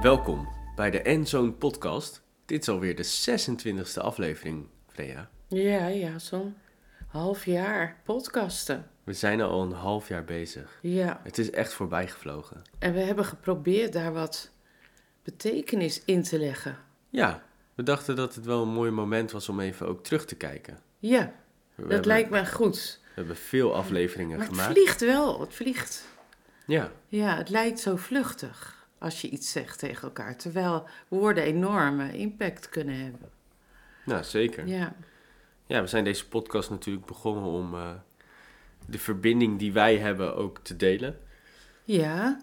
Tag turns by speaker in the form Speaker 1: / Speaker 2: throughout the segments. Speaker 1: Welkom bij de Endzone podcast. Dit is alweer de 26e aflevering, Freya.
Speaker 2: Ja, ja, zo'n half jaar podcasten.
Speaker 1: We zijn al een half jaar bezig.
Speaker 2: Ja,
Speaker 1: Het is echt voorbij gevlogen.
Speaker 2: en we hebben geprobeerd daar wat betekenis in te leggen.
Speaker 1: Ja, we dachten dat het wel een mooi moment was om even ook terug te kijken.
Speaker 2: Ja,
Speaker 1: We
Speaker 2: dat
Speaker 1: hebben,
Speaker 2: lijkt me goed.
Speaker 1: We hebben veel afleveringen
Speaker 2: Maar het
Speaker 1: gemaakt.
Speaker 2: vliegt wel, het vliegt.
Speaker 1: Ja,
Speaker 2: Ja, het lijkt zo vluchtig als je iets zegt tegen elkaar, terwijl woorden enorme impact kunnen hebben.
Speaker 1: nou zeker. Ja.
Speaker 2: Ja,
Speaker 1: we zijn deze podcast natuurlijk begonnen om eh, de verbinding die wij hebben ook te delen.
Speaker 2: ja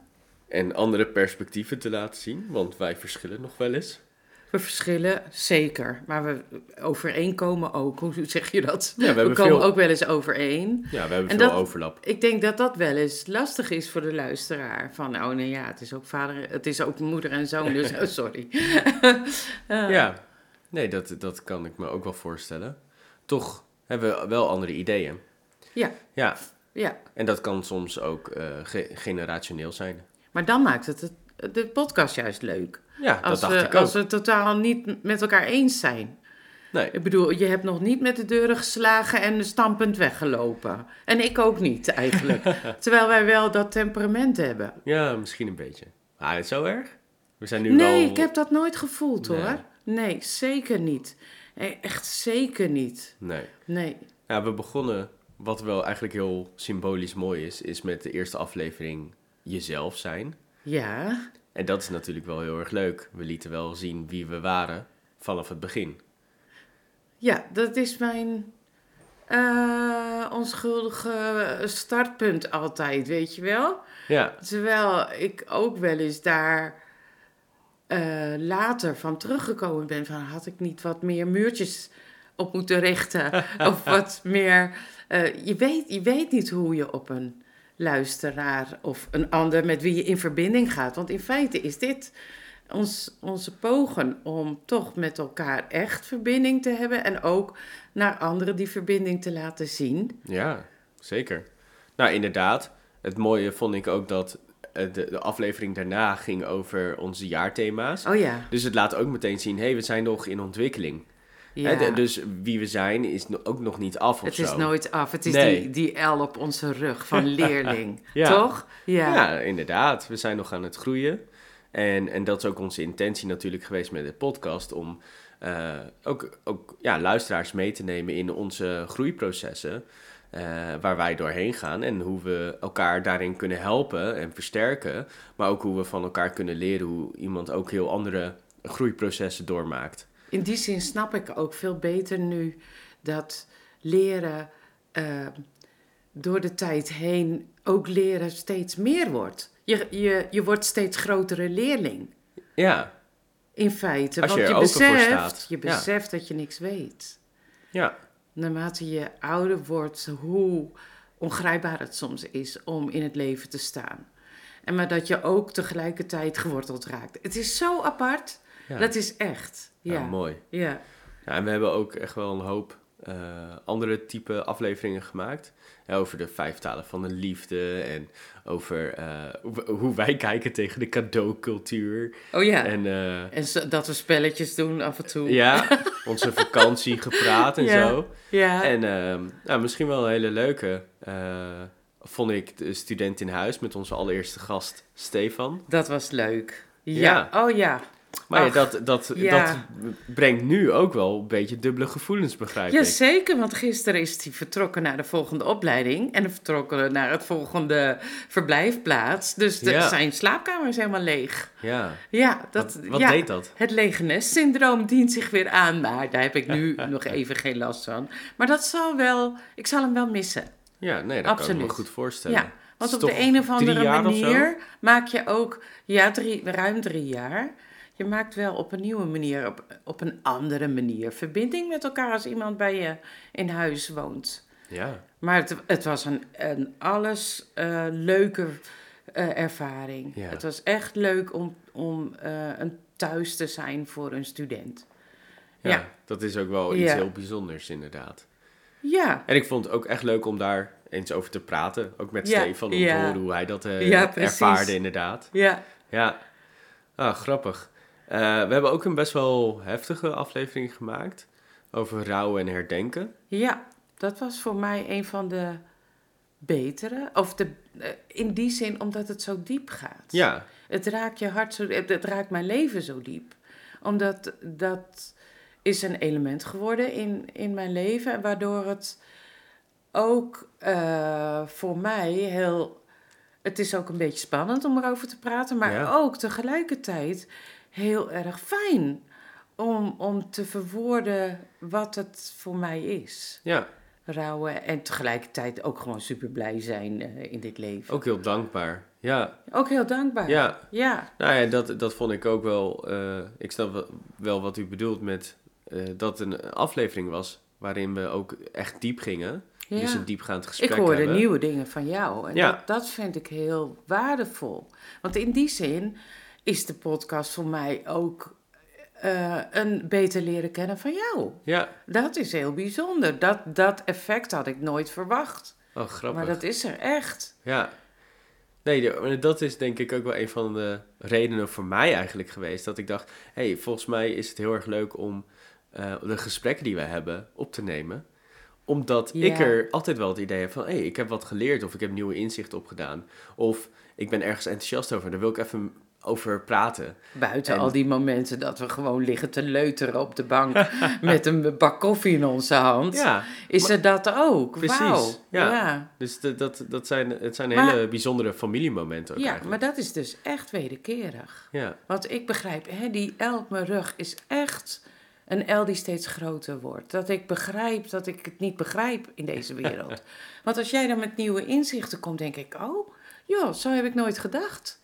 Speaker 1: En andere perspectieven te laten zien, want wij verschillen nog wel eens.
Speaker 2: we verschillen zeker, maar we overeenkomen ook. Hoe zeg je dat?
Speaker 1: Ja, we hebben
Speaker 2: komen
Speaker 1: veel-
Speaker 2: ook wel eens overeen.
Speaker 1: Ja, we hebben
Speaker 2: En
Speaker 1: veel
Speaker 2: dat-
Speaker 1: overlap.
Speaker 2: Ik denk dat dat wel eens lastig is voor de luisteraar. Van, oh nee, ja, het is ook vader, het is ook moeder en zoon, dus oh, sorry.
Speaker 1: Ja, nee, dat, dat kan ik me ook wel voorstellen. Toch hebben we wel andere ideeën.
Speaker 2: Ja,
Speaker 1: Ja,
Speaker 2: ja.
Speaker 1: en dat kan soms ook eh, ge- generationeel zijn.
Speaker 2: Maar dan maakt het, het de podcast juist leuk.
Speaker 1: Ja, dat
Speaker 2: Als,
Speaker 1: dacht
Speaker 2: we,
Speaker 1: ik ook.
Speaker 2: als we totaal niet met elkaar eens zijn.
Speaker 1: Nee,
Speaker 2: Ik bedoel, je hebt nog niet met de deuren geslagen en stampend weggelopen. En ik ook niet, eigenlijk. Terwijl wij wel dat temperament hebben.
Speaker 1: ja, misschien een beetje. Maar is zo erg? We zijn nu
Speaker 2: nee,
Speaker 1: wel...
Speaker 2: ik heb dat nooit gevoeld
Speaker 1: Nee.
Speaker 2: hoor. Nee, zeker niet. Nee, echt zeker niet.
Speaker 1: Nee.
Speaker 2: Nee.
Speaker 1: Ja, we begonnen, wat wel eigenlijk heel symbolisch mooi is, is met de eerste aflevering jezelf zijn.
Speaker 2: Ja.
Speaker 1: En dat is natuurlijk wel heel erg leuk. We lieten wel zien wie we waren vanaf het begin.
Speaker 2: Ja, dat is mijn eh, onschuldige startpunt altijd, weet je wel?
Speaker 1: Ja,
Speaker 2: Terwijl ik ook wel eens daar eh, later van teruggekomen ben van had ik niet wat meer muurtjes op moeten richten of wat meer... eh, je, weet, je weet niet hoe je op een luisteraar of een ander met wie je in verbinding gaat. Want in feite is dit ons, onze pogen om toch met elkaar echt verbinding te hebben... en ook naar anderen die verbinding te laten zien.
Speaker 1: Ja, zeker. Nou, inderdaad. Het mooie vond ik ook dat eh, de, de aflevering daarna ging over onze jaarthema's.
Speaker 2: Oh ja.
Speaker 1: Dus het laat ook meteen zien, hé, hey, we zijn nog in ontwikkeling.
Speaker 2: ja.
Speaker 1: Hè, de- dus wie we zijn is no- ook nog niet af of
Speaker 2: Het
Speaker 1: zo.
Speaker 2: is nooit af. Het is
Speaker 1: Nee.
Speaker 2: die, die L op onze rug van leerling.
Speaker 1: Ja.
Speaker 2: Toch?
Speaker 1: ja.
Speaker 2: Ja.
Speaker 1: inderdaad. We zijn nog aan het groeien. En, en dat is ook onze intentie natuurlijk geweest met de podcast, om eh, ook, ook ja, luisteraars mee te nemen in onze groeiprocessen, eh, waar wij doorheen gaan en hoe we elkaar daarin kunnen helpen en versterken, maar ook hoe we van elkaar kunnen leren hoe iemand ook heel andere groeiprocessen doormaakt.
Speaker 2: In die zin snap ik ook veel beter nu dat leren eh, door de tijd heen ook leren steeds meer wordt. Je, je, je wordt steeds grotere leerling.
Speaker 1: Ja,
Speaker 2: In feite.
Speaker 1: Als je
Speaker 2: want
Speaker 1: er
Speaker 2: je
Speaker 1: open voor
Speaker 2: beseft,
Speaker 1: staat.
Speaker 2: je
Speaker 1: Ja.
Speaker 2: beseft dat je niks weet.
Speaker 1: ja,
Speaker 2: Naarmate je ouder wordt, hoe ongrijpbaar het soms is om in het leven te staan. En maar dat je ook tegelijkertijd geworteld raakt. Het is zo apart.
Speaker 1: Ja.
Speaker 2: Dat is echt. Ja.
Speaker 1: ja. Nou, mooi.
Speaker 2: Ja.
Speaker 1: Ja, en we hebben ook echt wel een hoop eh, andere type afleveringen gemaakt. Hè, over de vijf talen van de liefde en over eh, hoe- hoe wij kijken tegen de cadeaucultuur.
Speaker 2: Oh ja. En,
Speaker 1: En eh,
Speaker 2: zo- dat we spelletjes doen af en toe.
Speaker 1: ja, onze vakantie gepraat en
Speaker 2: Ja.
Speaker 1: zo.
Speaker 2: Ja.
Speaker 1: En ehm, nou, misschien wel een hele leuke, eh, vond ik, de student in huis met onze allereerste gast Stefan.
Speaker 2: Dat was leuk. Ja.
Speaker 1: Ja.
Speaker 2: Oh ja.
Speaker 1: Maar ja,
Speaker 2: Ach,
Speaker 1: dat, dat,
Speaker 2: ja.
Speaker 1: dat brengt nu ook wel een beetje dubbele gevoelens, begrijp ik.
Speaker 2: Jazeker, want gisteren is hij vertrokken naar de volgende opleiding. En vertrokken naar het volgende verblijfplaats. Dus de-
Speaker 1: Ja.
Speaker 2: zijn slaapkamer is helemaal leeg.
Speaker 1: Ja,
Speaker 2: Ja, dat,
Speaker 1: wat, wat
Speaker 2: ja.
Speaker 1: deed dat?
Speaker 2: Het lege nest-syndroom dient zich weer aan, maar daar heb ik nu nog even geen last van. Maar dat zal wel, ik zal hem wel missen.
Speaker 1: Ja, nee, dat kan ik
Speaker 2: Absoluut.
Speaker 1: me goed voorstellen.
Speaker 2: Ja, want
Speaker 1: Het
Speaker 2: op
Speaker 1: is
Speaker 2: de
Speaker 1: toch
Speaker 2: een of
Speaker 1: drie
Speaker 2: andere
Speaker 1: jaar of zo?
Speaker 2: manier maak je ook, ja, drie, ruim drie jaar. Je maakt wel op een nieuwe manier, op, op een andere manier verbinding met elkaar als iemand bij je in huis woont.
Speaker 1: Ja,
Speaker 2: Maar het, het was een, een alles eh, leuke eh, ervaring.
Speaker 1: Ja.
Speaker 2: Het was echt leuk om, om eh, een thuis te zijn voor een student.
Speaker 1: ja,
Speaker 2: Ja.
Speaker 1: dat is ook wel iets
Speaker 2: Ja.
Speaker 1: heel bijzonders inderdaad.
Speaker 2: Ja,
Speaker 1: En ik vond het ook echt leuk om daar eens over te praten. Ook met
Speaker 2: Ja,
Speaker 1: Stefan, om
Speaker 2: ja.
Speaker 1: te horen hoe hij dat eh,
Speaker 2: Ja, precies.
Speaker 1: ervaarde inderdaad.
Speaker 2: ja.
Speaker 1: Ja, ah, grappig. Eh, we hebben ook een best wel heftige aflevering gemaakt over rouwen en herdenken.
Speaker 2: Ja, dat was voor mij een van de betere. Of de, eh, in die zin omdat het zo diep gaat.
Speaker 1: Ja,
Speaker 2: Het raakt je hart zo, het het raakt mijn leven zo diep. Omdat dat is een element geworden in, in mijn leven. en Waardoor het ook eh, voor mij heel. Het is ook een beetje spannend om erover te praten, maar
Speaker 1: Ja.
Speaker 2: ook tegelijkertijd heel erg fijn om, om te verwoorden wat het voor mij is.
Speaker 1: ja,
Speaker 2: Rouwen en tegelijkertijd ook gewoon super blij zijn eh, in dit leven.
Speaker 1: ook heel dankbaar. Ja,
Speaker 2: Ook heel dankbaar.
Speaker 1: ja.
Speaker 2: ja.
Speaker 1: Nou ja, dat, dat vond ik ook wel. eh, ik snap wel- wel wat u bedoelt met eh, dat het een aflevering was waarin we ook echt diep gingen.
Speaker 2: Ja.
Speaker 1: Dus een diepgaand gesprek.
Speaker 2: Ik hoorde
Speaker 1: hebben.
Speaker 2: nieuwe dingen van jou. En
Speaker 1: Ja.
Speaker 2: dat, dat vind ik heel waardevol. Want in die zin is de podcast voor mij ook eh, een beter leren kennen van jou.
Speaker 1: Ja,
Speaker 2: Dat is heel bijzonder. Dat, dat effect had ik nooit verwacht.
Speaker 1: oh grappig.
Speaker 2: Maar dat is er echt.
Speaker 1: Ja. Nee, de- maar dat is denk ik ook wel een van de redenen voor mij eigenlijk geweest. Dat ik dacht, hé, hey, volgens mij is het heel erg leuk om eh, de gesprekken die we hebben op te nemen. Omdat
Speaker 2: Ja.
Speaker 1: ik er altijd wel het idee heb van, hé, hey, ik heb wat geleerd of ik heb nieuwe inzichten opgedaan. Of ik ben ergens enthousiast over, daar wil ik even over praten.
Speaker 2: Buiten
Speaker 1: En-
Speaker 2: al die momenten dat we gewoon liggen te leuteren op de bank met een bak koffie in onze hand.
Speaker 1: Ja,
Speaker 2: Is
Speaker 1: maar-
Speaker 2: er dat ook?
Speaker 1: Precies,
Speaker 2: Wauw.
Speaker 1: ja.
Speaker 2: ja.
Speaker 1: dus dat, dat, dat zijn, het zijn
Speaker 2: Maar-
Speaker 1: hele bijzondere familiemomenten ook
Speaker 2: Ja, maar
Speaker 1: eigenlijk.
Speaker 2: dat is dus echt wederkerig.
Speaker 1: Ja,
Speaker 2: Want ik begrijp, hè, die L op mijn rug is echt een L die steeds groter wordt. Dat ik begrijp dat ik het niet begrijp in deze wereld. Want als jij dan met nieuwe inzichten komt, denk ik, oh, joh, zo heb ik nooit gedacht.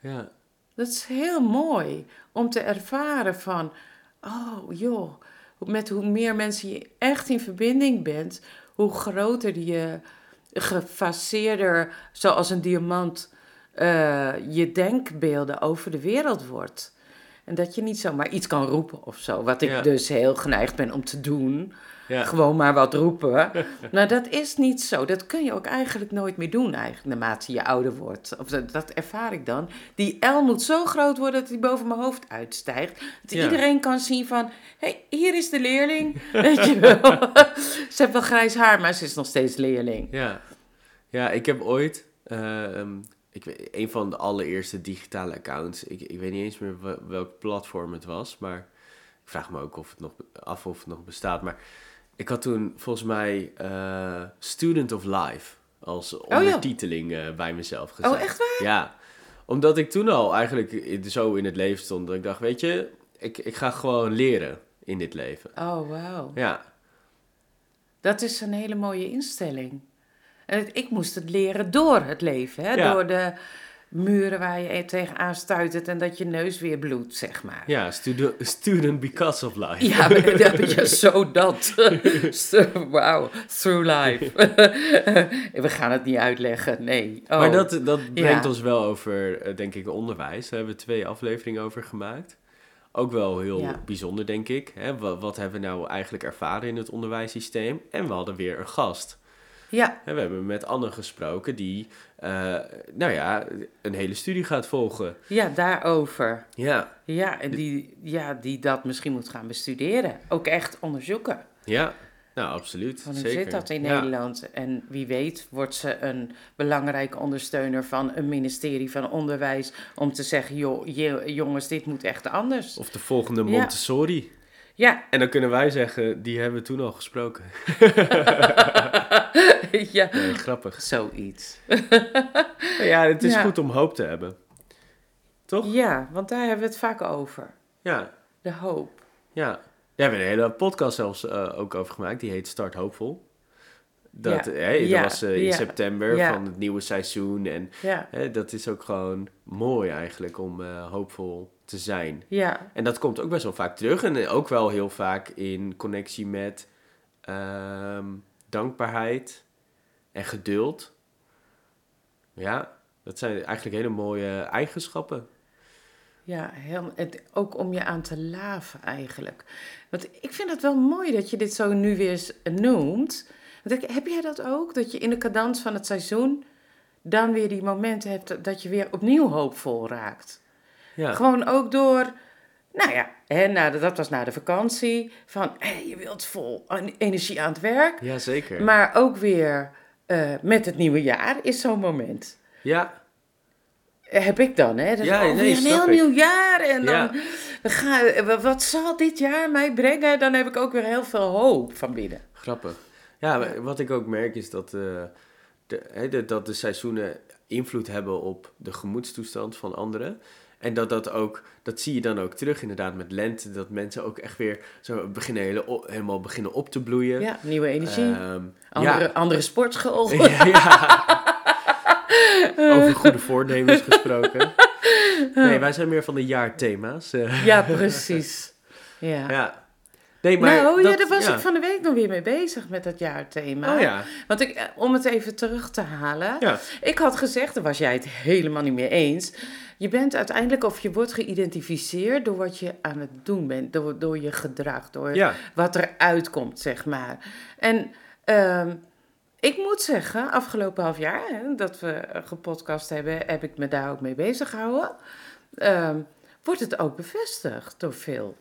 Speaker 1: ja,
Speaker 2: Dat is heel mooi om te ervaren van, oh joh, met hoe meer mensen je echt in verbinding bent, hoe groter je, gefaseerder, zoals een diamant, eh, je denkbeelden over de wereld wordt. En dat je niet zomaar iets kan roepen of zo, wat ik
Speaker 1: Ja.
Speaker 2: dus heel geneigd ben om te doen.
Speaker 1: ja.
Speaker 2: Gewoon maar wat roepen. nou, dat is niet zo. Dat kun je ook eigenlijk nooit meer doen, eigenlijk, naarmate je ouder wordt. Of dat, dat ervaar ik dan. Die L moet zo groot worden dat die boven mijn hoofd uitstijgt. Dat
Speaker 1: Ja.
Speaker 2: iedereen kan zien van, hey, hier is de leerling. Weet je wel. ze heeft wel grijs haar, maar ze is nog steeds leerling.
Speaker 1: Ja, ja ik heb ooit eh, ehm, ik weet, een van de allereerste digitale accounts. Ik, ik weet niet eens meer wel- welk platform het was, maar ik vraag me ook of het nog af of het nog bestaat. Maar ik had toen volgens mij eh, Student of Life als
Speaker 2: Oh, ja.
Speaker 1: ondertiteling eh, bij mezelf gezet.
Speaker 2: Oh, echt
Speaker 1: waar? Ja, omdat ik toen al eigenlijk i- zo in het leven stond dat ik dacht, weet je, ik, ik ga gewoon leren in dit leven.
Speaker 2: Oh, wauw.
Speaker 1: Ja,
Speaker 2: Dat is een hele mooie instelling. En het- ik moest het leren door het leven. Hè?
Speaker 1: Ja.
Speaker 2: Door de muren waar je tegenaan stuitert en dat je neus weer bloedt, zeg maar.
Speaker 1: ja studen- Student Because of Life.
Speaker 2: Ja, maar dat, ja, zo dat. Zo, Wauw, through life. We gaan het niet uitleggen, nee. Oh.
Speaker 1: Maar dat, dat brengt
Speaker 2: Ja.
Speaker 1: ons wel over, eh, denk ik, onderwijs. Daar hebben we twee afleveringen over gemaakt. Ook wel heel
Speaker 2: Ja.
Speaker 1: bijzonder, denk ik. Hè? Wat, wat hebben we nou eigenlijk ervaren in het onderwijssysteem? En we hadden weer een gast.
Speaker 2: Ja,
Speaker 1: En we hebben met Anne gesproken die, eh, nou ja, een hele studie gaat volgen.
Speaker 2: ja, daarover.
Speaker 1: Ja,
Speaker 2: Ja, en die, ja, die dat misschien moet gaan bestuderen. Ook echt onderzoeken.
Speaker 1: ja. Nou, absoluut.
Speaker 2: Van hoe
Speaker 1: Zeker.
Speaker 2: zit dat in
Speaker 1: Ja.
Speaker 2: Nederland? En wie weet wordt ze een belangrijke ondersteuner van een ministerie van Onderwijs... om te zeggen, joh, je- jongens, dit moet echt anders.
Speaker 1: Of de volgende
Speaker 2: Ja.
Speaker 1: Montessori.
Speaker 2: Ja,
Speaker 1: En dan kunnen wij zeggen, die hebben we toen al gesproken.
Speaker 2: ja.
Speaker 1: Nee, grappig.
Speaker 2: zoiets.
Speaker 1: Ja, het is
Speaker 2: Ja.
Speaker 1: goed om hoop te hebben. Toch?
Speaker 2: Ja, want daar hebben we het vaak over.
Speaker 1: Ja.
Speaker 2: De hoop.
Speaker 1: Ja, daar hebben we een hele podcast zelfs eh, ook over gemaakt. Die heet Start Hoopvol. Dat,
Speaker 2: Ja.
Speaker 1: hè, dat
Speaker 2: Ja.
Speaker 1: was eh, in
Speaker 2: Ja.
Speaker 1: september
Speaker 2: Ja.
Speaker 1: van het nieuwe seizoen. En
Speaker 2: Ja,
Speaker 1: hè, dat is ook gewoon mooi eigenlijk om eh, hoopvol te zijn.
Speaker 2: ja,
Speaker 1: En dat komt ook best wel vaak terug. En eh, ook wel heel vaak in connectie met ehm, dankbaarheid en geduld. Ja, dat zijn eigenlijk hele mooie eigenschappen.
Speaker 2: Ja, heel, het, ook om je aan te laven eigenlijk. Want ik vind het wel mooi dat je dit zo nu weer eens noemt. Want ik- heb jij dat ook? Dat je in de cadans van het seizoen dan weer die momenten hebt dat je weer opnieuw hoopvol raakt.
Speaker 1: Ja.
Speaker 2: Gewoon ook door, nou ja, hè, na de, dat was na de vakantie. Van, hé, je wilt vol en- energie aan het werk.
Speaker 1: ja, zeker.
Speaker 2: Maar ook weer eh, met het nieuwe jaar is zo'n moment
Speaker 1: ja,
Speaker 2: heb ik dan, hè? Dat
Speaker 1: Ja,
Speaker 2: oh,
Speaker 1: nee,
Speaker 2: weer een
Speaker 1: snap
Speaker 2: heel
Speaker 1: ik.
Speaker 2: nieuw jaar. En dan,
Speaker 1: Ja.
Speaker 2: we gaan, wa- wat zal dit jaar mij brengen? Dan heb ik ook weer heel veel hoop van binnen.
Speaker 1: grappig. Ja, wa- wat ik ook merk is dat, eh, de, hè, de- dat de seizoenen invloed hebben op de gemoedstoestand van anderen. En dat dat ook, dat zie je dan ook terug inderdaad met lente. Dat mensen ook echt weer zo beginnen hele o- helemaal beginnen op te bloeien.
Speaker 2: Ja, nieuwe energie.
Speaker 1: Ehm,
Speaker 2: andere,
Speaker 1: ja.
Speaker 2: andere sportschool.
Speaker 1: Ja, Over goede voornemens gesproken. Nee, wij zijn meer van de jaarthema's. eh.
Speaker 2: Ja, precies. Ja.
Speaker 1: ja. Nee, maar
Speaker 2: nou,
Speaker 1: dat,
Speaker 2: ja, daar was
Speaker 1: ja.
Speaker 2: ik van de week nog weer mee bezig met dat jaarthema.
Speaker 1: Oh ja.
Speaker 2: Want ik, eh, om het even terug te halen.
Speaker 1: Ja.
Speaker 2: Ik had gezegd, daar was jij het helemaal niet mee eens. Je bent uiteindelijk of je wordt geïdentificeerd door wat je aan het doen bent. Door, door je gedrag, door
Speaker 1: Ja.
Speaker 2: wat eruit komt, zeg maar. En ehm, ik moet zeggen, afgelopen half jaar hè, dat we gepodcast hebben, heb ik me daar ook mee bezig gehouden. Ehm, wordt het ook bevestigd door
Speaker 1: Oh
Speaker 2: veel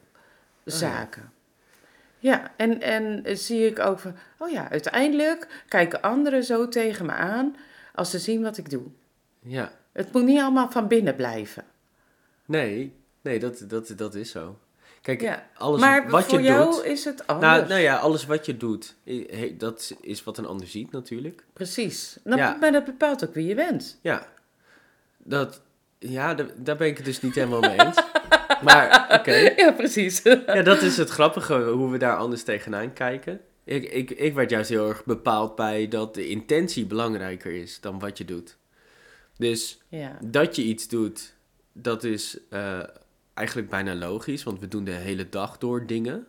Speaker 2: zaken. Ja, en, en zie ik ook van, oh ja, uiteindelijk kijken anderen zo tegen me aan als ze zien wat ik doe.
Speaker 1: ja.
Speaker 2: Het moet niet allemaal van binnen blijven.
Speaker 1: Nee, nee dat, dat, dat is zo. Kijk,
Speaker 2: Ja.
Speaker 1: alles
Speaker 2: maar
Speaker 1: wat
Speaker 2: voor
Speaker 1: je
Speaker 2: jou
Speaker 1: doet.
Speaker 2: is het anders.
Speaker 1: Nou, nou ja, alles wat je doet, i- he- dat is wat een ander ziet natuurlijk.
Speaker 2: Precies. Nou,
Speaker 1: Ja.
Speaker 2: Maar dat bepaalt ook wie je bent.
Speaker 1: Ja, dat, ja da- daar ben ik het dus niet helemaal mee eens. Maar oké,
Speaker 2: Ja, precies.
Speaker 1: ja, dat is het grappige, hoe we daar anders tegenaan kijken. Ik, ik, ik werd juist heel erg bepaald bij dat de intentie belangrijker is dan wat je doet. Dus
Speaker 2: ja.
Speaker 1: dat je iets doet, dat is eh, eigenlijk bijna logisch, want we doen de hele dag door dingen.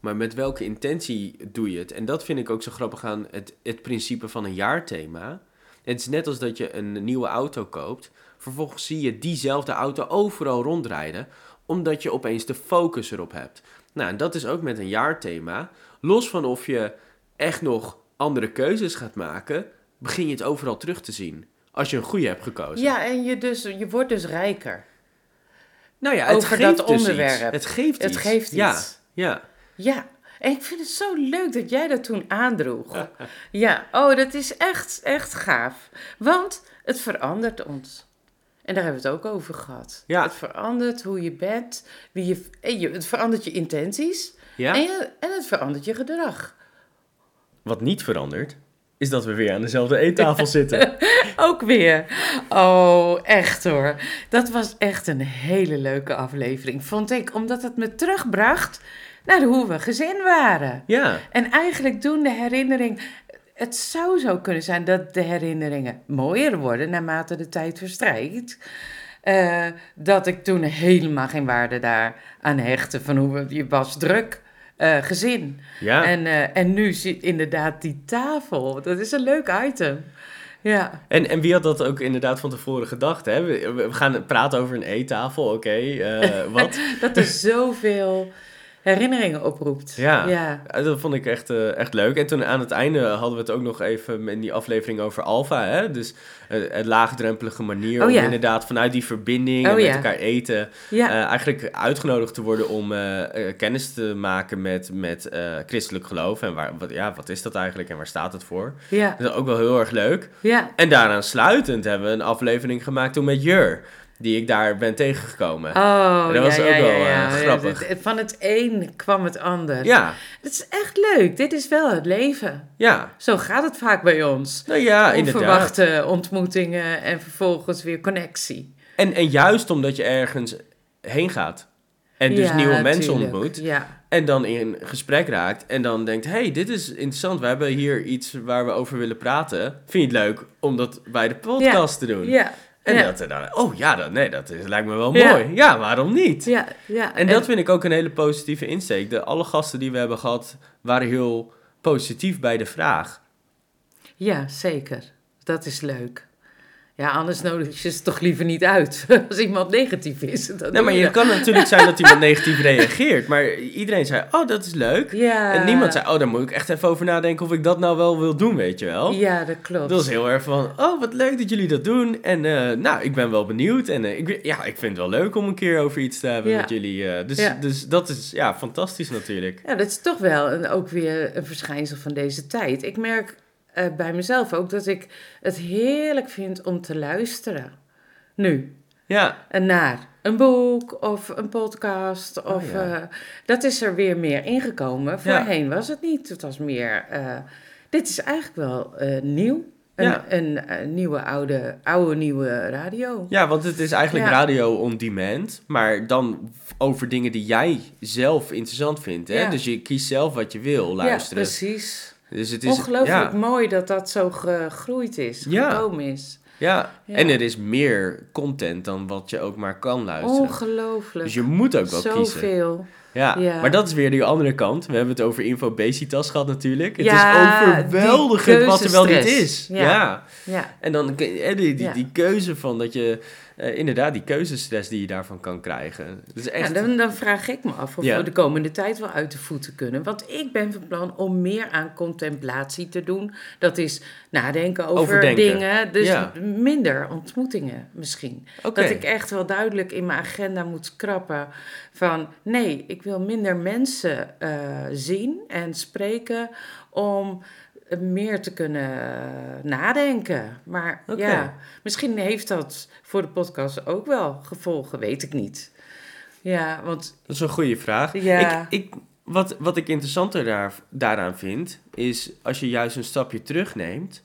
Speaker 1: Maar met welke intentie doe je het? En dat vind ik ook zo grappig aan het, het principe van een jaarthema. Het is net als dat je een nieuwe auto koopt. Vervolgens zie je diezelfde auto overal rondrijden, omdat je opeens de focus erop hebt. Nou, en dat is ook met een jaarthema. Los van of je echt nog andere keuzes gaat maken, begin je het overal terug te zien. Als je een goede hebt gekozen.
Speaker 2: ja, en je, dus, je wordt dus rijker.
Speaker 1: Nou ja,
Speaker 2: over dat
Speaker 1: dus
Speaker 2: onderwerp.
Speaker 1: iets. Het geeft iets.
Speaker 2: Het geeft iets.
Speaker 1: Ja, ja.
Speaker 2: Ja, en ik vind het zo leuk dat jij dat toen aandroeg. ja, oh, dat is echt, echt gaaf. Want het verandert ons. En daar hebben we het ook over gehad.
Speaker 1: Ja.
Speaker 2: Het verandert hoe je bent, wie je, en je- het verandert je intenties
Speaker 1: ja.
Speaker 2: en, je- en het verandert je gedrag.
Speaker 1: Wat niet verandert, is dat we weer aan dezelfde eettafel zitten.
Speaker 2: Ook weer. Oh, echt hoor. Dat was echt een hele leuke aflevering, vond ik. Omdat het me terugbracht naar hoe we gezin waren.
Speaker 1: Ja,
Speaker 2: En eigenlijk doen de herinnering. Het zou zo kunnen zijn dat de herinneringen mooier worden naarmate de tijd verstrijkt. Eh, dat ik toen helemaal geen waarde daar aan hechtte. Van hoe we- je was druk, eh, gezin.
Speaker 1: ja. En,
Speaker 2: En, eh, en nu zit inderdaad die tafel. Dat is een leuk item. Ja.
Speaker 1: en, wie had dat ook inderdaad van tevoren gedacht, hè? We, we gaan praten over een eettafel, oké, eh, wat?
Speaker 2: Dat er zoveel herinneringen oproept.
Speaker 1: Ja.
Speaker 2: ja.
Speaker 1: Ja, Dat vond ik echt, eh, echt leuk. En toen aan het einde hadden we het ook nog even in die aflevering over Alfa. Hè? Dus eh, het laagdrempelige manier
Speaker 2: Oh
Speaker 1: om
Speaker 2: ja.
Speaker 1: inderdaad vanuit die verbinding en
Speaker 2: Oh
Speaker 1: met
Speaker 2: ja.
Speaker 1: elkaar eten.
Speaker 2: Ja.
Speaker 1: eh, eigenlijk uitgenodigd te worden om eh, eh, kennis te maken met, met eh, christelijk geloof. En waar, wat, ja, wat is dat eigenlijk en waar staat het voor?
Speaker 2: ja.
Speaker 1: Dat is ook wel heel erg leuk.
Speaker 2: ja.
Speaker 1: En daaraan sluitend hebben we een aflevering gemaakt toen met Jur. Die ik daar ben tegengekomen.
Speaker 2: Oh,
Speaker 1: Dat was
Speaker 2: ja,
Speaker 1: ook
Speaker 2: ja,
Speaker 1: wel,
Speaker 2: ja,
Speaker 1: eh,
Speaker 2: ja.
Speaker 1: grappig.
Speaker 2: Het- het- Van het een kwam het ander.
Speaker 1: Ja,
Speaker 2: Het is echt leuk. Dit is wel het leven.
Speaker 1: ja.
Speaker 2: Zo gaat het vaak bij ons.
Speaker 1: Nou ja, inderdaad.
Speaker 2: Onverwachte ontmoetingen en vervolgens weer connectie.
Speaker 1: En, en juist omdat je ergens heen gaat. En dus
Speaker 2: Ja,
Speaker 1: nieuwe mensen
Speaker 2: tuurlijk.
Speaker 1: ontmoet.
Speaker 2: Ja,
Speaker 1: En dan in gesprek raakt. En dan denkt, hey, dit is interessant. We hebben hier iets waar we over willen praten. Vind je het leuk om dat bij de podcast te doen?
Speaker 2: ja.
Speaker 1: En
Speaker 2: ja.
Speaker 1: dat er dan, oh ja, dat, nee, dat is, lijkt me wel
Speaker 2: Ja.
Speaker 1: mooi. Ja, waarom niet?
Speaker 2: Ja, ja.
Speaker 1: En dat vind ik ook een hele positieve insteek. De, alle gasten die we hebben gehad waren heel positief bij de vraag.
Speaker 2: Ja, zeker. Dat is leuk. Ja, Ja, anders nodig je ze toch liever niet uit. Als iemand negatief is. Dat
Speaker 1: Nee,
Speaker 2: doe
Speaker 1: maar je kan natuurlijk zijn dat iemand negatief reageert. Maar iedereen zei, oh, dat is leuk.
Speaker 2: Ja.
Speaker 1: En niemand zei, oh, daar moet ik echt even over nadenken of ik dat nou wel wil doen, weet je wel.
Speaker 2: Ja, dat klopt.
Speaker 1: "Oh." Dat was heel erg van, oh, wat leuk dat jullie dat doen. En eh, nou, ik ben wel benieuwd. En eh, ik, ja, ik vind het wel leuk om een keer over iets te hebben
Speaker 2: Ja.
Speaker 1: met jullie. eh. dus,
Speaker 2: Ja.
Speaker 1: dus dat is, ja, fantastisch natuurlijk.
Speaker 2: Ja, dat is toch wel een, ook weer een verschijnsel van deze tijd. Ik merk eh, bij mezelf ook dat ik het heerlijk vind om te luisteren. Nu.
Speaker 1: Ja,
Speaker 2: En naar een boek of een podcast.
Speaker 1: Oh,
Speaker 2: Of,
Speaker 1: ja.
Speaker 2: eh, dat is er weer meer ingekomen. Voorheen was het niet. Het was meer. eh, dit is eigenlijk wel eh, nieuw. Een,
Speaker 1: Ja.
Speaker 2: een, eh, nieuwe, oude, oude, nieuwe radio.
Speaker 1: ja want het is eigenlijk
Speaker 2: Ja.
Speaker 1: radio on demand. Maar dan over dingen die jij zelf interessant vindt. Hè?
Speaker 2: Ja.
Speaker 1: Dus je kiest zelf wat je wil luisteren.
Speaker 2: Ja, precies.
Speaker 1: dus het is,
Speaker 2: Ongelooflijk
Speaker 1: ja.
Speaker 2: mooi dat dat zo gegroeid is,
Speaker 1: Ja.
Speaker 2: gekomen is.
Speaker 1: Ja.
Speaker 2: Ja.
Speaker 1: en er is meer content dan wat je ook maar kan luisteren.
Speaker 2: Ongelooflijk.
Speaker 1: eh, dus je moet ook wel kiezen.
Speaker 2: Zoveel.
Speaker 1: Ja.
Speaker 2: Ja.
Speaker 1: maar dat is weer die andere kant. We hebben het over infobesitas gehad natuurlijk. Het
Speaker 2: Ja,
Speaker 1: is overweldigend
Speaker 2: die
Speaker 1: wat er wel niet is.
Speaker 2: keuzestress.
Speaker 1: Ja.
Speaker 2: Ja. Ja,
Speaker 1: En dan eh, die, die,
Speaker 2: Ja.
Speaker 1: die keuze van dat je... eh, inderdaad, die keuzestress die je daarvan kan krijgen. Dat is echt...
Speaker 2: Ja, dan, dan vraag ik me af of
Speaker 1: Ja.
Speaker 2: we de komende tijd wel uit de voeten kunnen. Want ik ben van plan om meer aan contemplatie te doen. Dat is nadenken over
Speaker 1: Overdenken.
Speaker 2: dingen. Dus
Speaker 1: Ja.
Speaker 2: minder ontmoetingen misschien.
Speaker 1: Oké.
Speaker 2: Dat ik echt wel duidelijk in mijn agenda moet krappen van nee, ik wil minder mensen eh, zien en spreken om meer te kunnen eh, nadenken. Maar
Speaker 1: Oké.
Speaker 2: ja, misschien heeft dat voor de podcast ook wel gevolgen, weet ik niet. Ja, want
Speaker 1: Dat is een goede vraag.
Speaker 2: Ja.
Speaker 1: Ik, ik, wat, wat ik interessanter daar, daaraan vind, is als je juist een stapje terugneemt,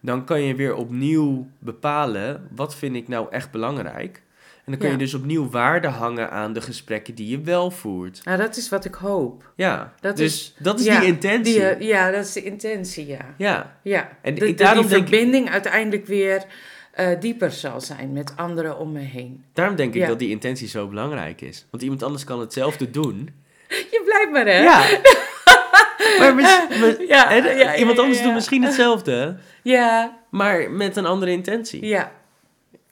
Speaker 1: dan kan je weer opnieuw bepalen wat vind ik nou echt belangrijk. En dan kun
Speaker 2: Ja.
Speaker 1: je dus opnieuw waarde hangen aan de gesprekken die je wel voert.
Speaker 2: nou, dat is wat ik hoop.
Speaker 1: Ja,
Speaker 2: Dat
Speaker 1: dus
Speaker 2: is-
Speaker 1: dat is
Speaker 2: ja,
Speaker 1: die intentie.
Speaker 2: Die, eh, ja, dat is de intentie, ja.
Speaker 1: Ja,
Speaker 2: ja.
Speaker 1: En
Speaker 2: En
Speaker 1: ik-
Speaker 2: de,
Speaker 1: daarom
Speaker 2: daarom
Speaker 1: denk ik-
Speaker 2: verbinding uiteindelijk weer eh, dieper zal zijn met anderen om me heen.
Speaker 1: daarom denk ik
Speaker 2: Ja.
Speaker 1: dat die intentie zo belangrijk is. Want iemand anders kan hetzelfde doen.
Speaker 2: Je blijft maar, hè?
Speaker 1: Ja. maar mis- mis-
Speaker 2: Ja,
Speaker 1: hè,
Speaker 2: ja, ja,
Speaker 1: iemand
Speaker 2: ja,
Speaker 1: anders
Speaker 2: ja.
Speaker 1: doet misschien hetzelfde,
Speaker 2: Ja,
Speaker 1: maar met een andere intentie.
Speaker 2: ja.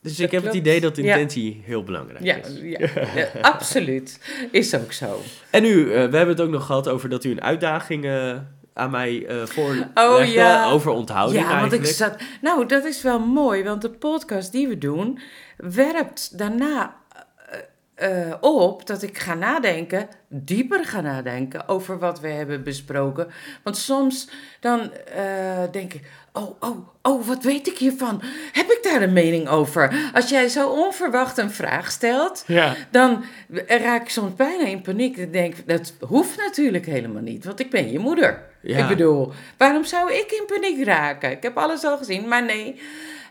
Speaker 1: Dus
Speaker 2: Dat
Speaker 1: ik heb het
Speaker 2: klopt.
Speaker 1: idee dat
Speaker 2: Ja.
Speaker 1: intentie heel belangrijk
Speaker 2: Ja,
Speaker 1: is.
Speaker 2: ja, ja, absoluut. Is ook zo.
Speaker 1: En u, eh, we hebben het ook nog gehad over dat u een uitdaging eh, aan mij eh voorlegde.
Speaker 2: Oh, ja.
Speaker 1: Over onthouding
Speaker 2: ja, want
Speaker 1: eigenlijk.
Speaker 2: ik zat. Nou, dat is wel mooi, want de podcast die we doen werpt daarna eh, eh, op dat ik ga nadenken, dieper ga nadenken over wat we hebben besproken. Want soms dan eh, denk ik: oh, oh, oh, wat weet ik hiervan? Heb ik daar een mening over? Als jij zo onverwacht een vraag stelt,
Speaker 1: Ja.
Speaker 2: dan raak ik soms bijna in paniek. Ik denk, dat hoeft natuurlijk helemaal niet, want ik ben je moeder.
Speaker 1: Ja.
Speaker 2: Ik bedoel, waarom zou ik in paniek raken? Ik heb alles al gezien, maar nee.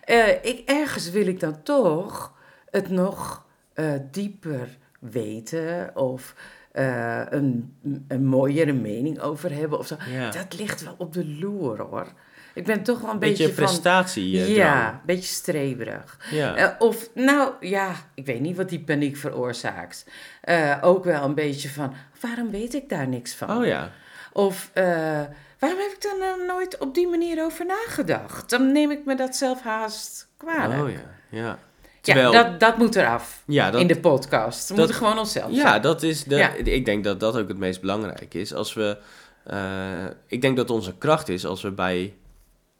Speaker 2: eh, ik, ergens wil ik dan toch het nog eh, dieper weten of eh, een, een mooiere mening over hebben. Of zo.
Speaker 1: Ja.
Speaker 2: Dat ligt wel op de loer hoor. Ik ben toch wel een beetje,
Speaker 1: beetje
Speaker 2: van...
Speaker 1: prestatie. eh,
Speaker 2: Ja, een beetje streberig.
Speaker 1: drang. ja.
Speaker 2: Eh, of, nou ja, ik weet niet wat die paniek veroorzaakt. Eh, ook wel een beetje van, waarom weet ik daar niks van?
Speaker 1: Oh ja.
Speaker 2: Of, eh, waarom heb ik daar nou nooit op die manier over nagedacht? Dan neem ik me dat zelf haast kwalijk.
Speaker 1: Oh ja. Ja,
Speaker 2: Ja,
Speaker 1: Terwijl-
Speaker 2: dat, dat moet eraf
Speaker 1: ja dat,
Speaker 2: in de podcast. We
Speaker 1: dat-
Speaker 2: moeten gewoon onszelf
Speaker 1: ja,
Speaker 2: zijn.
Speaker 1: dat is de,
Speaker 2: Ja.
Speaker 1: ik denk dat dat ook het meest belangrijk is. Als we, eh, ik denk dat onze kracht is als we bij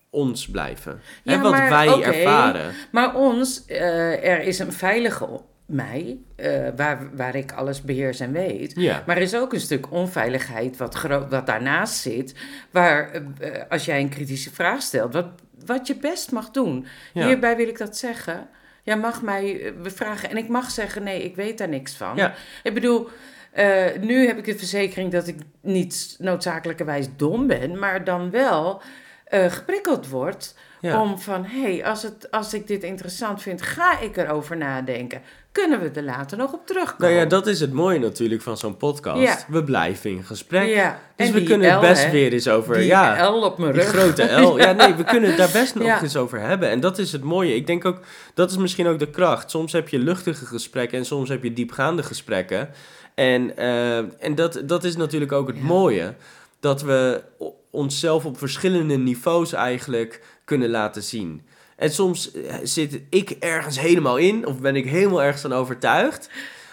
Speaker 1: ons blijven.
Speaker 2: Ja,
Speaker 1: en wat
Speaker 2: maar,
Speaker 1: wij
Speaker 2: oké.
Speaker 1: ervaren.
Speaker 2: Maar ons, eh, er is een veilige o- mij, eh, waar, waar ik alles beheers en weet.
Speaker 1: Ja.
Speaker 2: Maar er is ook een stuk onveiligheid wat, gro- wat daarnaast zit. Waar eh, eh, als jij een kritische vraag stelt, wat, wat je best mag doen.
Speaker 1: Ja.
Speaker 2: Hierbij wil ik dat zeggen. Jij mag mij eh, bevragen en ik mag zeggen: nee, ik weet daar niks van.
Speaker 1: Ja.
Speaker 2: Ik bedoel. eh, nu heb ik de verzekering dat ik niet noodzakelijkerwijs dom ben, maar dan wel eh, geprikkeld word
Speaker 1: Ja.
Speaker 2: om van, hé, hey, als, het- als ik dit interessant vind, ga ik erover nadenken. Kunnen we er later nog op terugkomen?
Speaker 1: Nou ja, dat is het mooie natuurlijk van zo'n podcast.
Speaker 2: Ja.
Speaker 1: We blijven in gesprek.
Speaker 2: Ja,
Speaker 1: Dus
Speaker 2: en
Speaker 1: we
Speaker 2: die
Speaker 1: kunnen het
Speaker 2: L,
Speaker 1: best
Speaker 2: hè?
Speaker 1: weer eens over.
Speaker 2: Die
Speaker 1: ja,
Speaker 2: L op mijn
Speaker 1: die
Speaker 2: rug.
Speaker 1: grote L. Ja, nee, we kunnen het daar best nog
Speaker 2: Ja.
Speaker 1: eens over hebben. En dat is het mooie. Ik denk ook, dat is misschien ook de kracht. Soms heb je luchtige gesprekken en soms heb je diepgaande gesprekken. En, eh, en dat, dat is natuurlijk ook het
Speaker 2: Ja.
Speaker 1: mooie. Dat we o- onszelf op verschillende niveaus eigenlijk kunnen laten zien. En soms eh, zit ik ergens helemaal in of ben ik helemaal ergens aan overtuigd.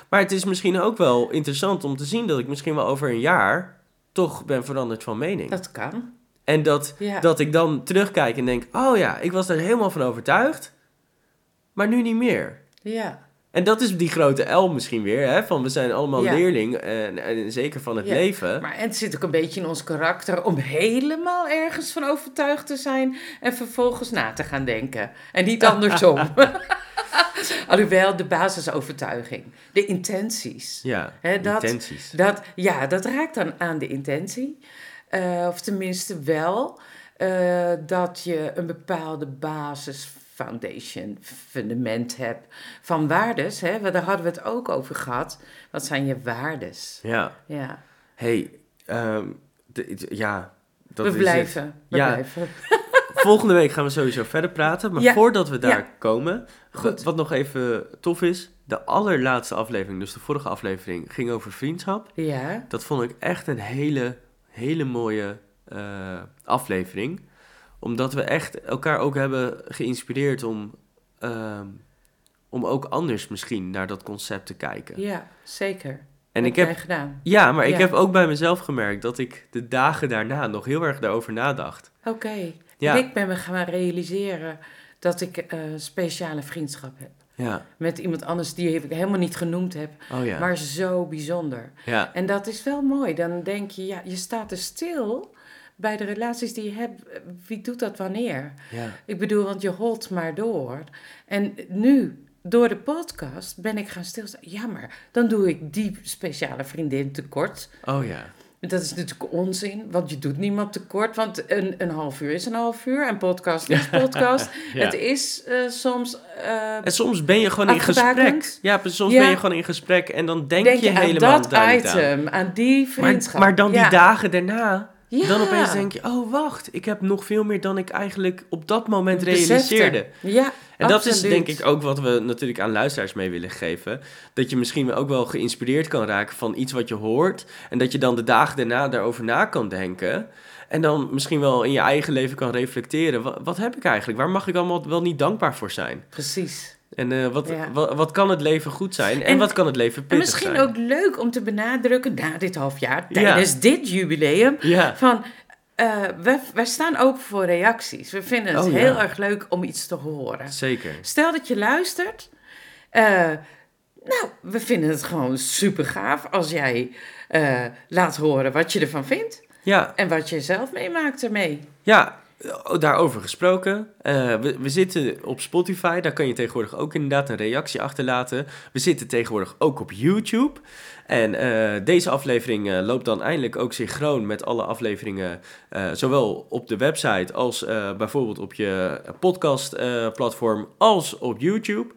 Speaker 1: Maar het is misschien ook wel interessant om te zien dat ik misschien wel over een jaar toch ben veranderd van mening.
Speaker 2: Dat kan.
Speaker 1: En dat,
Speaker 2: Ja.
Speaker 1: dat ik dan terugkijk en denk, oh ja, ik was daar helemaal van overtuigd, maar nu niet meer.
Speaker 2: Ja.
Speaker 1: En dat is die grote L misschien weer, hè? van we zijn allemaal
Speaker 2: Ja.
Speaker 1: leerling en, en zeker van het
Speaker 2: Ja.
Speaker 1: leven.
Speaker 2: Maar en het zit ook een beetje in ons karakter om helemaal ergens van overtuigd te zijn en vervolgens na te gaan denken. En niet andersom. Alhoewel de basisovertuiging, de intenties.
Speaker 1: Ja,
Speaker 2: Hè, dat-
Speaker 1: intenties.
Speaker 2: Dat, ja, dat raakt dan aan de intentie. Eh, of tenminste wel eh, dat je een bepaalde basis, foundation, fundament hebt van waardes. Hè? want Daar hadden we het ook over gehad. Wat zijn je waardes?
Speaker 1: Ja,
Speaker 2: Ja,
Speaker 1: hey, ehm, d- d- ja, dat
Speaker 2: we
Speaker 1: is het.
Speaker 2: blijven. We
Speaker 1: Ja.
Speaker 2: blijven.
Speaker 1: Volgende week gaan we sowieso verder praten, maar
Speaker 2: Ja.
Speaker 1: voordat we daar
Speaker 2: Ja.
Speaker 1: komen,
Speaker 2: Goed.
Speaker 1: wat nog even tof is, de allerlaatste aflevering, dus de vorige aflevering, ging over vriendschap.
Speaker 2: Ja,
Speaker 1: Dat vond ik echt een hele, hele mooie eh, aflevering. Omdat we echt elkaar ook hebben geïnspireerd om, ehm, om ook anders misschien naar dat concept te kijken.
Speaker 2: ja zeker.
Speaker 1: en
Speaker 2: Heb
Speaker 1: ik heb.
Speaker 2: jij gedaan.
Speaker 1: Ja, maar ik
Speaker 2: Ja.
Speaker 1: heb ook bij mezelf gemerkt dat ik de dagen daarna nog heel erg daarover nadacht.
Speaker 2: Oké.
Speaker 1: Ja.
Speaker 2: Ik ben me gaan realiseren dat ik eh, een speciale vriendschap heb.
Speaker 1: Ja.
Speaker 2: Met iemand anders die ik helemaal niet genoemd heb,
Speaker 1: Oh ja.
Speaker 2: maar zo bijzonder.
Speaker 1: Ja.
Speaker 2: En dat is wel mooi. Dan denk je, ja, je staat er stil bij de relaties die je hebt. Wie doet dat wanneer?
Speaker 1: Ja.
Speaker 2: Ik bedoel, want je holt maar door. En nu, door de podcast, ben ik gaan stilstaan. Ja, maar dan doe ik die speciale vriendin tekort.
Speaker 1: Oh ja.
Speaker 2: Dat is natuurlijk onzin, want je doet niemand tekort. Want een, een half uur is een half uur en podcast is podcast.
Speaker 1: Ja.
Speaker 2: Het is eh, soms... eh,
Speaker 1: En soms ben je gewoon in
Speaker 2: Afgebakend.
Speaker 1: gesprek. Ja, soms
Speaker 2: Ja.
Speaker 1: ben je gewoon in gesprek en dan denk,
Speaker 2: denk
Speaker 1: je,
Speaker 2: je aan
Speaker 1: helemaal
Speaker 2: dat
Speaker 1: daar niet aan.
Speaker 2: item, aan die
Speaker 1: Maar,
Speaker 2: vriendschap.
Speaker 1: maar dan die
Speaker 2: Ja.
Speaker 1: dagen daarna,
Speaker 2: Ja.
Speaker 1: Dan opeens denk je, oh wacht, ik heb nog veel meer dan ik eigenlijk op dat moment
Speaker 2: Besefte.
Speaker 1: realiseerde.
Speaker 2: Ja,
Speaker 1: En dat is
Speaker 2: absoluut.
Speaker 1: denk ik ook wat we natuurlijk aan luisteraars mee willen geven. Dat je misschien ook wel geïnspireerd kan raken van iets wat je hoort. En dat je dan de dagen daarna daarover na kan denken. En dan misschien wel in je eigen leven kan reflecteren. Wat, wat heb ik eigenlijk? Waar mag ik allemaal wel niet dankbaar voor zijn?
Speaker 2: Precies.
Speaker 1: En eh, wat,
Speaker 2: Ja.
Speaker 1: wat, wat kan het leven goed zijn? En,
Speaker 2: En-
Speaker 1: wat kan het leven
Speaker 2: En
Speaker 1: pittig
Speaker 2: misschien
Speaker 1: zijn?
Speaker 2: ook leuk om te benadrukken na dit half jaar,
Speaker 1: Ja.
Speaker 2: tijdens dit jubileum,
Speaker 1: Ja,
Speaker 2: van eh, wij, wij staan open voor reacties. We vinden het
Speaker 1: Oh, ja.
Speaker 2: heel erg leuk om iets te horen.
Speaker 1: zeker.
Speaker 2: Stel dat je luistert. eh, nou, we vinden het gewoon super gaaf als jij eh, laat horen wat je ervan vindt
Speaker 1: Ja,
Speaker 2: en wat je zelf meemaakt ermee.
Speaker 1: Ja, oh, daarover gesproken. Eh, we, we zitten op Spotify. Daar kan je tegenwoordig ook inderdaad een reactie achterlaten. We zitten tegenwoordig ook op YouTube. En eh, deze aflevering eh, loopt dan eindelijk ook synchroon met alle afleveringen. eh, zowel op de website als eh, bijvoorbeeld op je podcastplatform als op YouTube.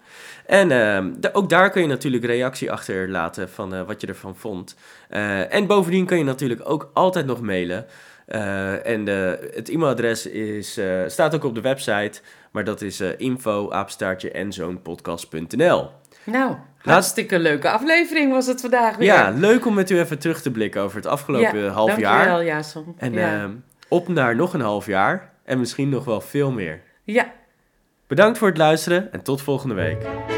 Speaker 1: En ehm, da- ook daar kun je natuurlijk reactie achterlaten van eh, wat je ervan vond. Eh, en bovendien kun je natuurlijk ook altijd nog mailen. Eh, en eh, het e-mailadres is, eh, staat ook op de website, maar dat is eh info apenstaartje en zoonpodcast.nl.
Speaker 2: Nou, hartstikke leuke aflevering was het vandaag weer.
Speaker 1: Ja, leuk om met u even terug te blikken over het afgelopen
Speaker 2: Ja,
Speaker 1: half jaar.
Speaker 2: Dankjewel, Jason.
Speaker 1: En
Speaker 2: ja.
Speaker 1: ehm, op naar nog een half jaar en misschien nog wel veel meer.
Speaker 2: ja.
Speaker 1: Bedankt voor het luisteren en tot volgende week.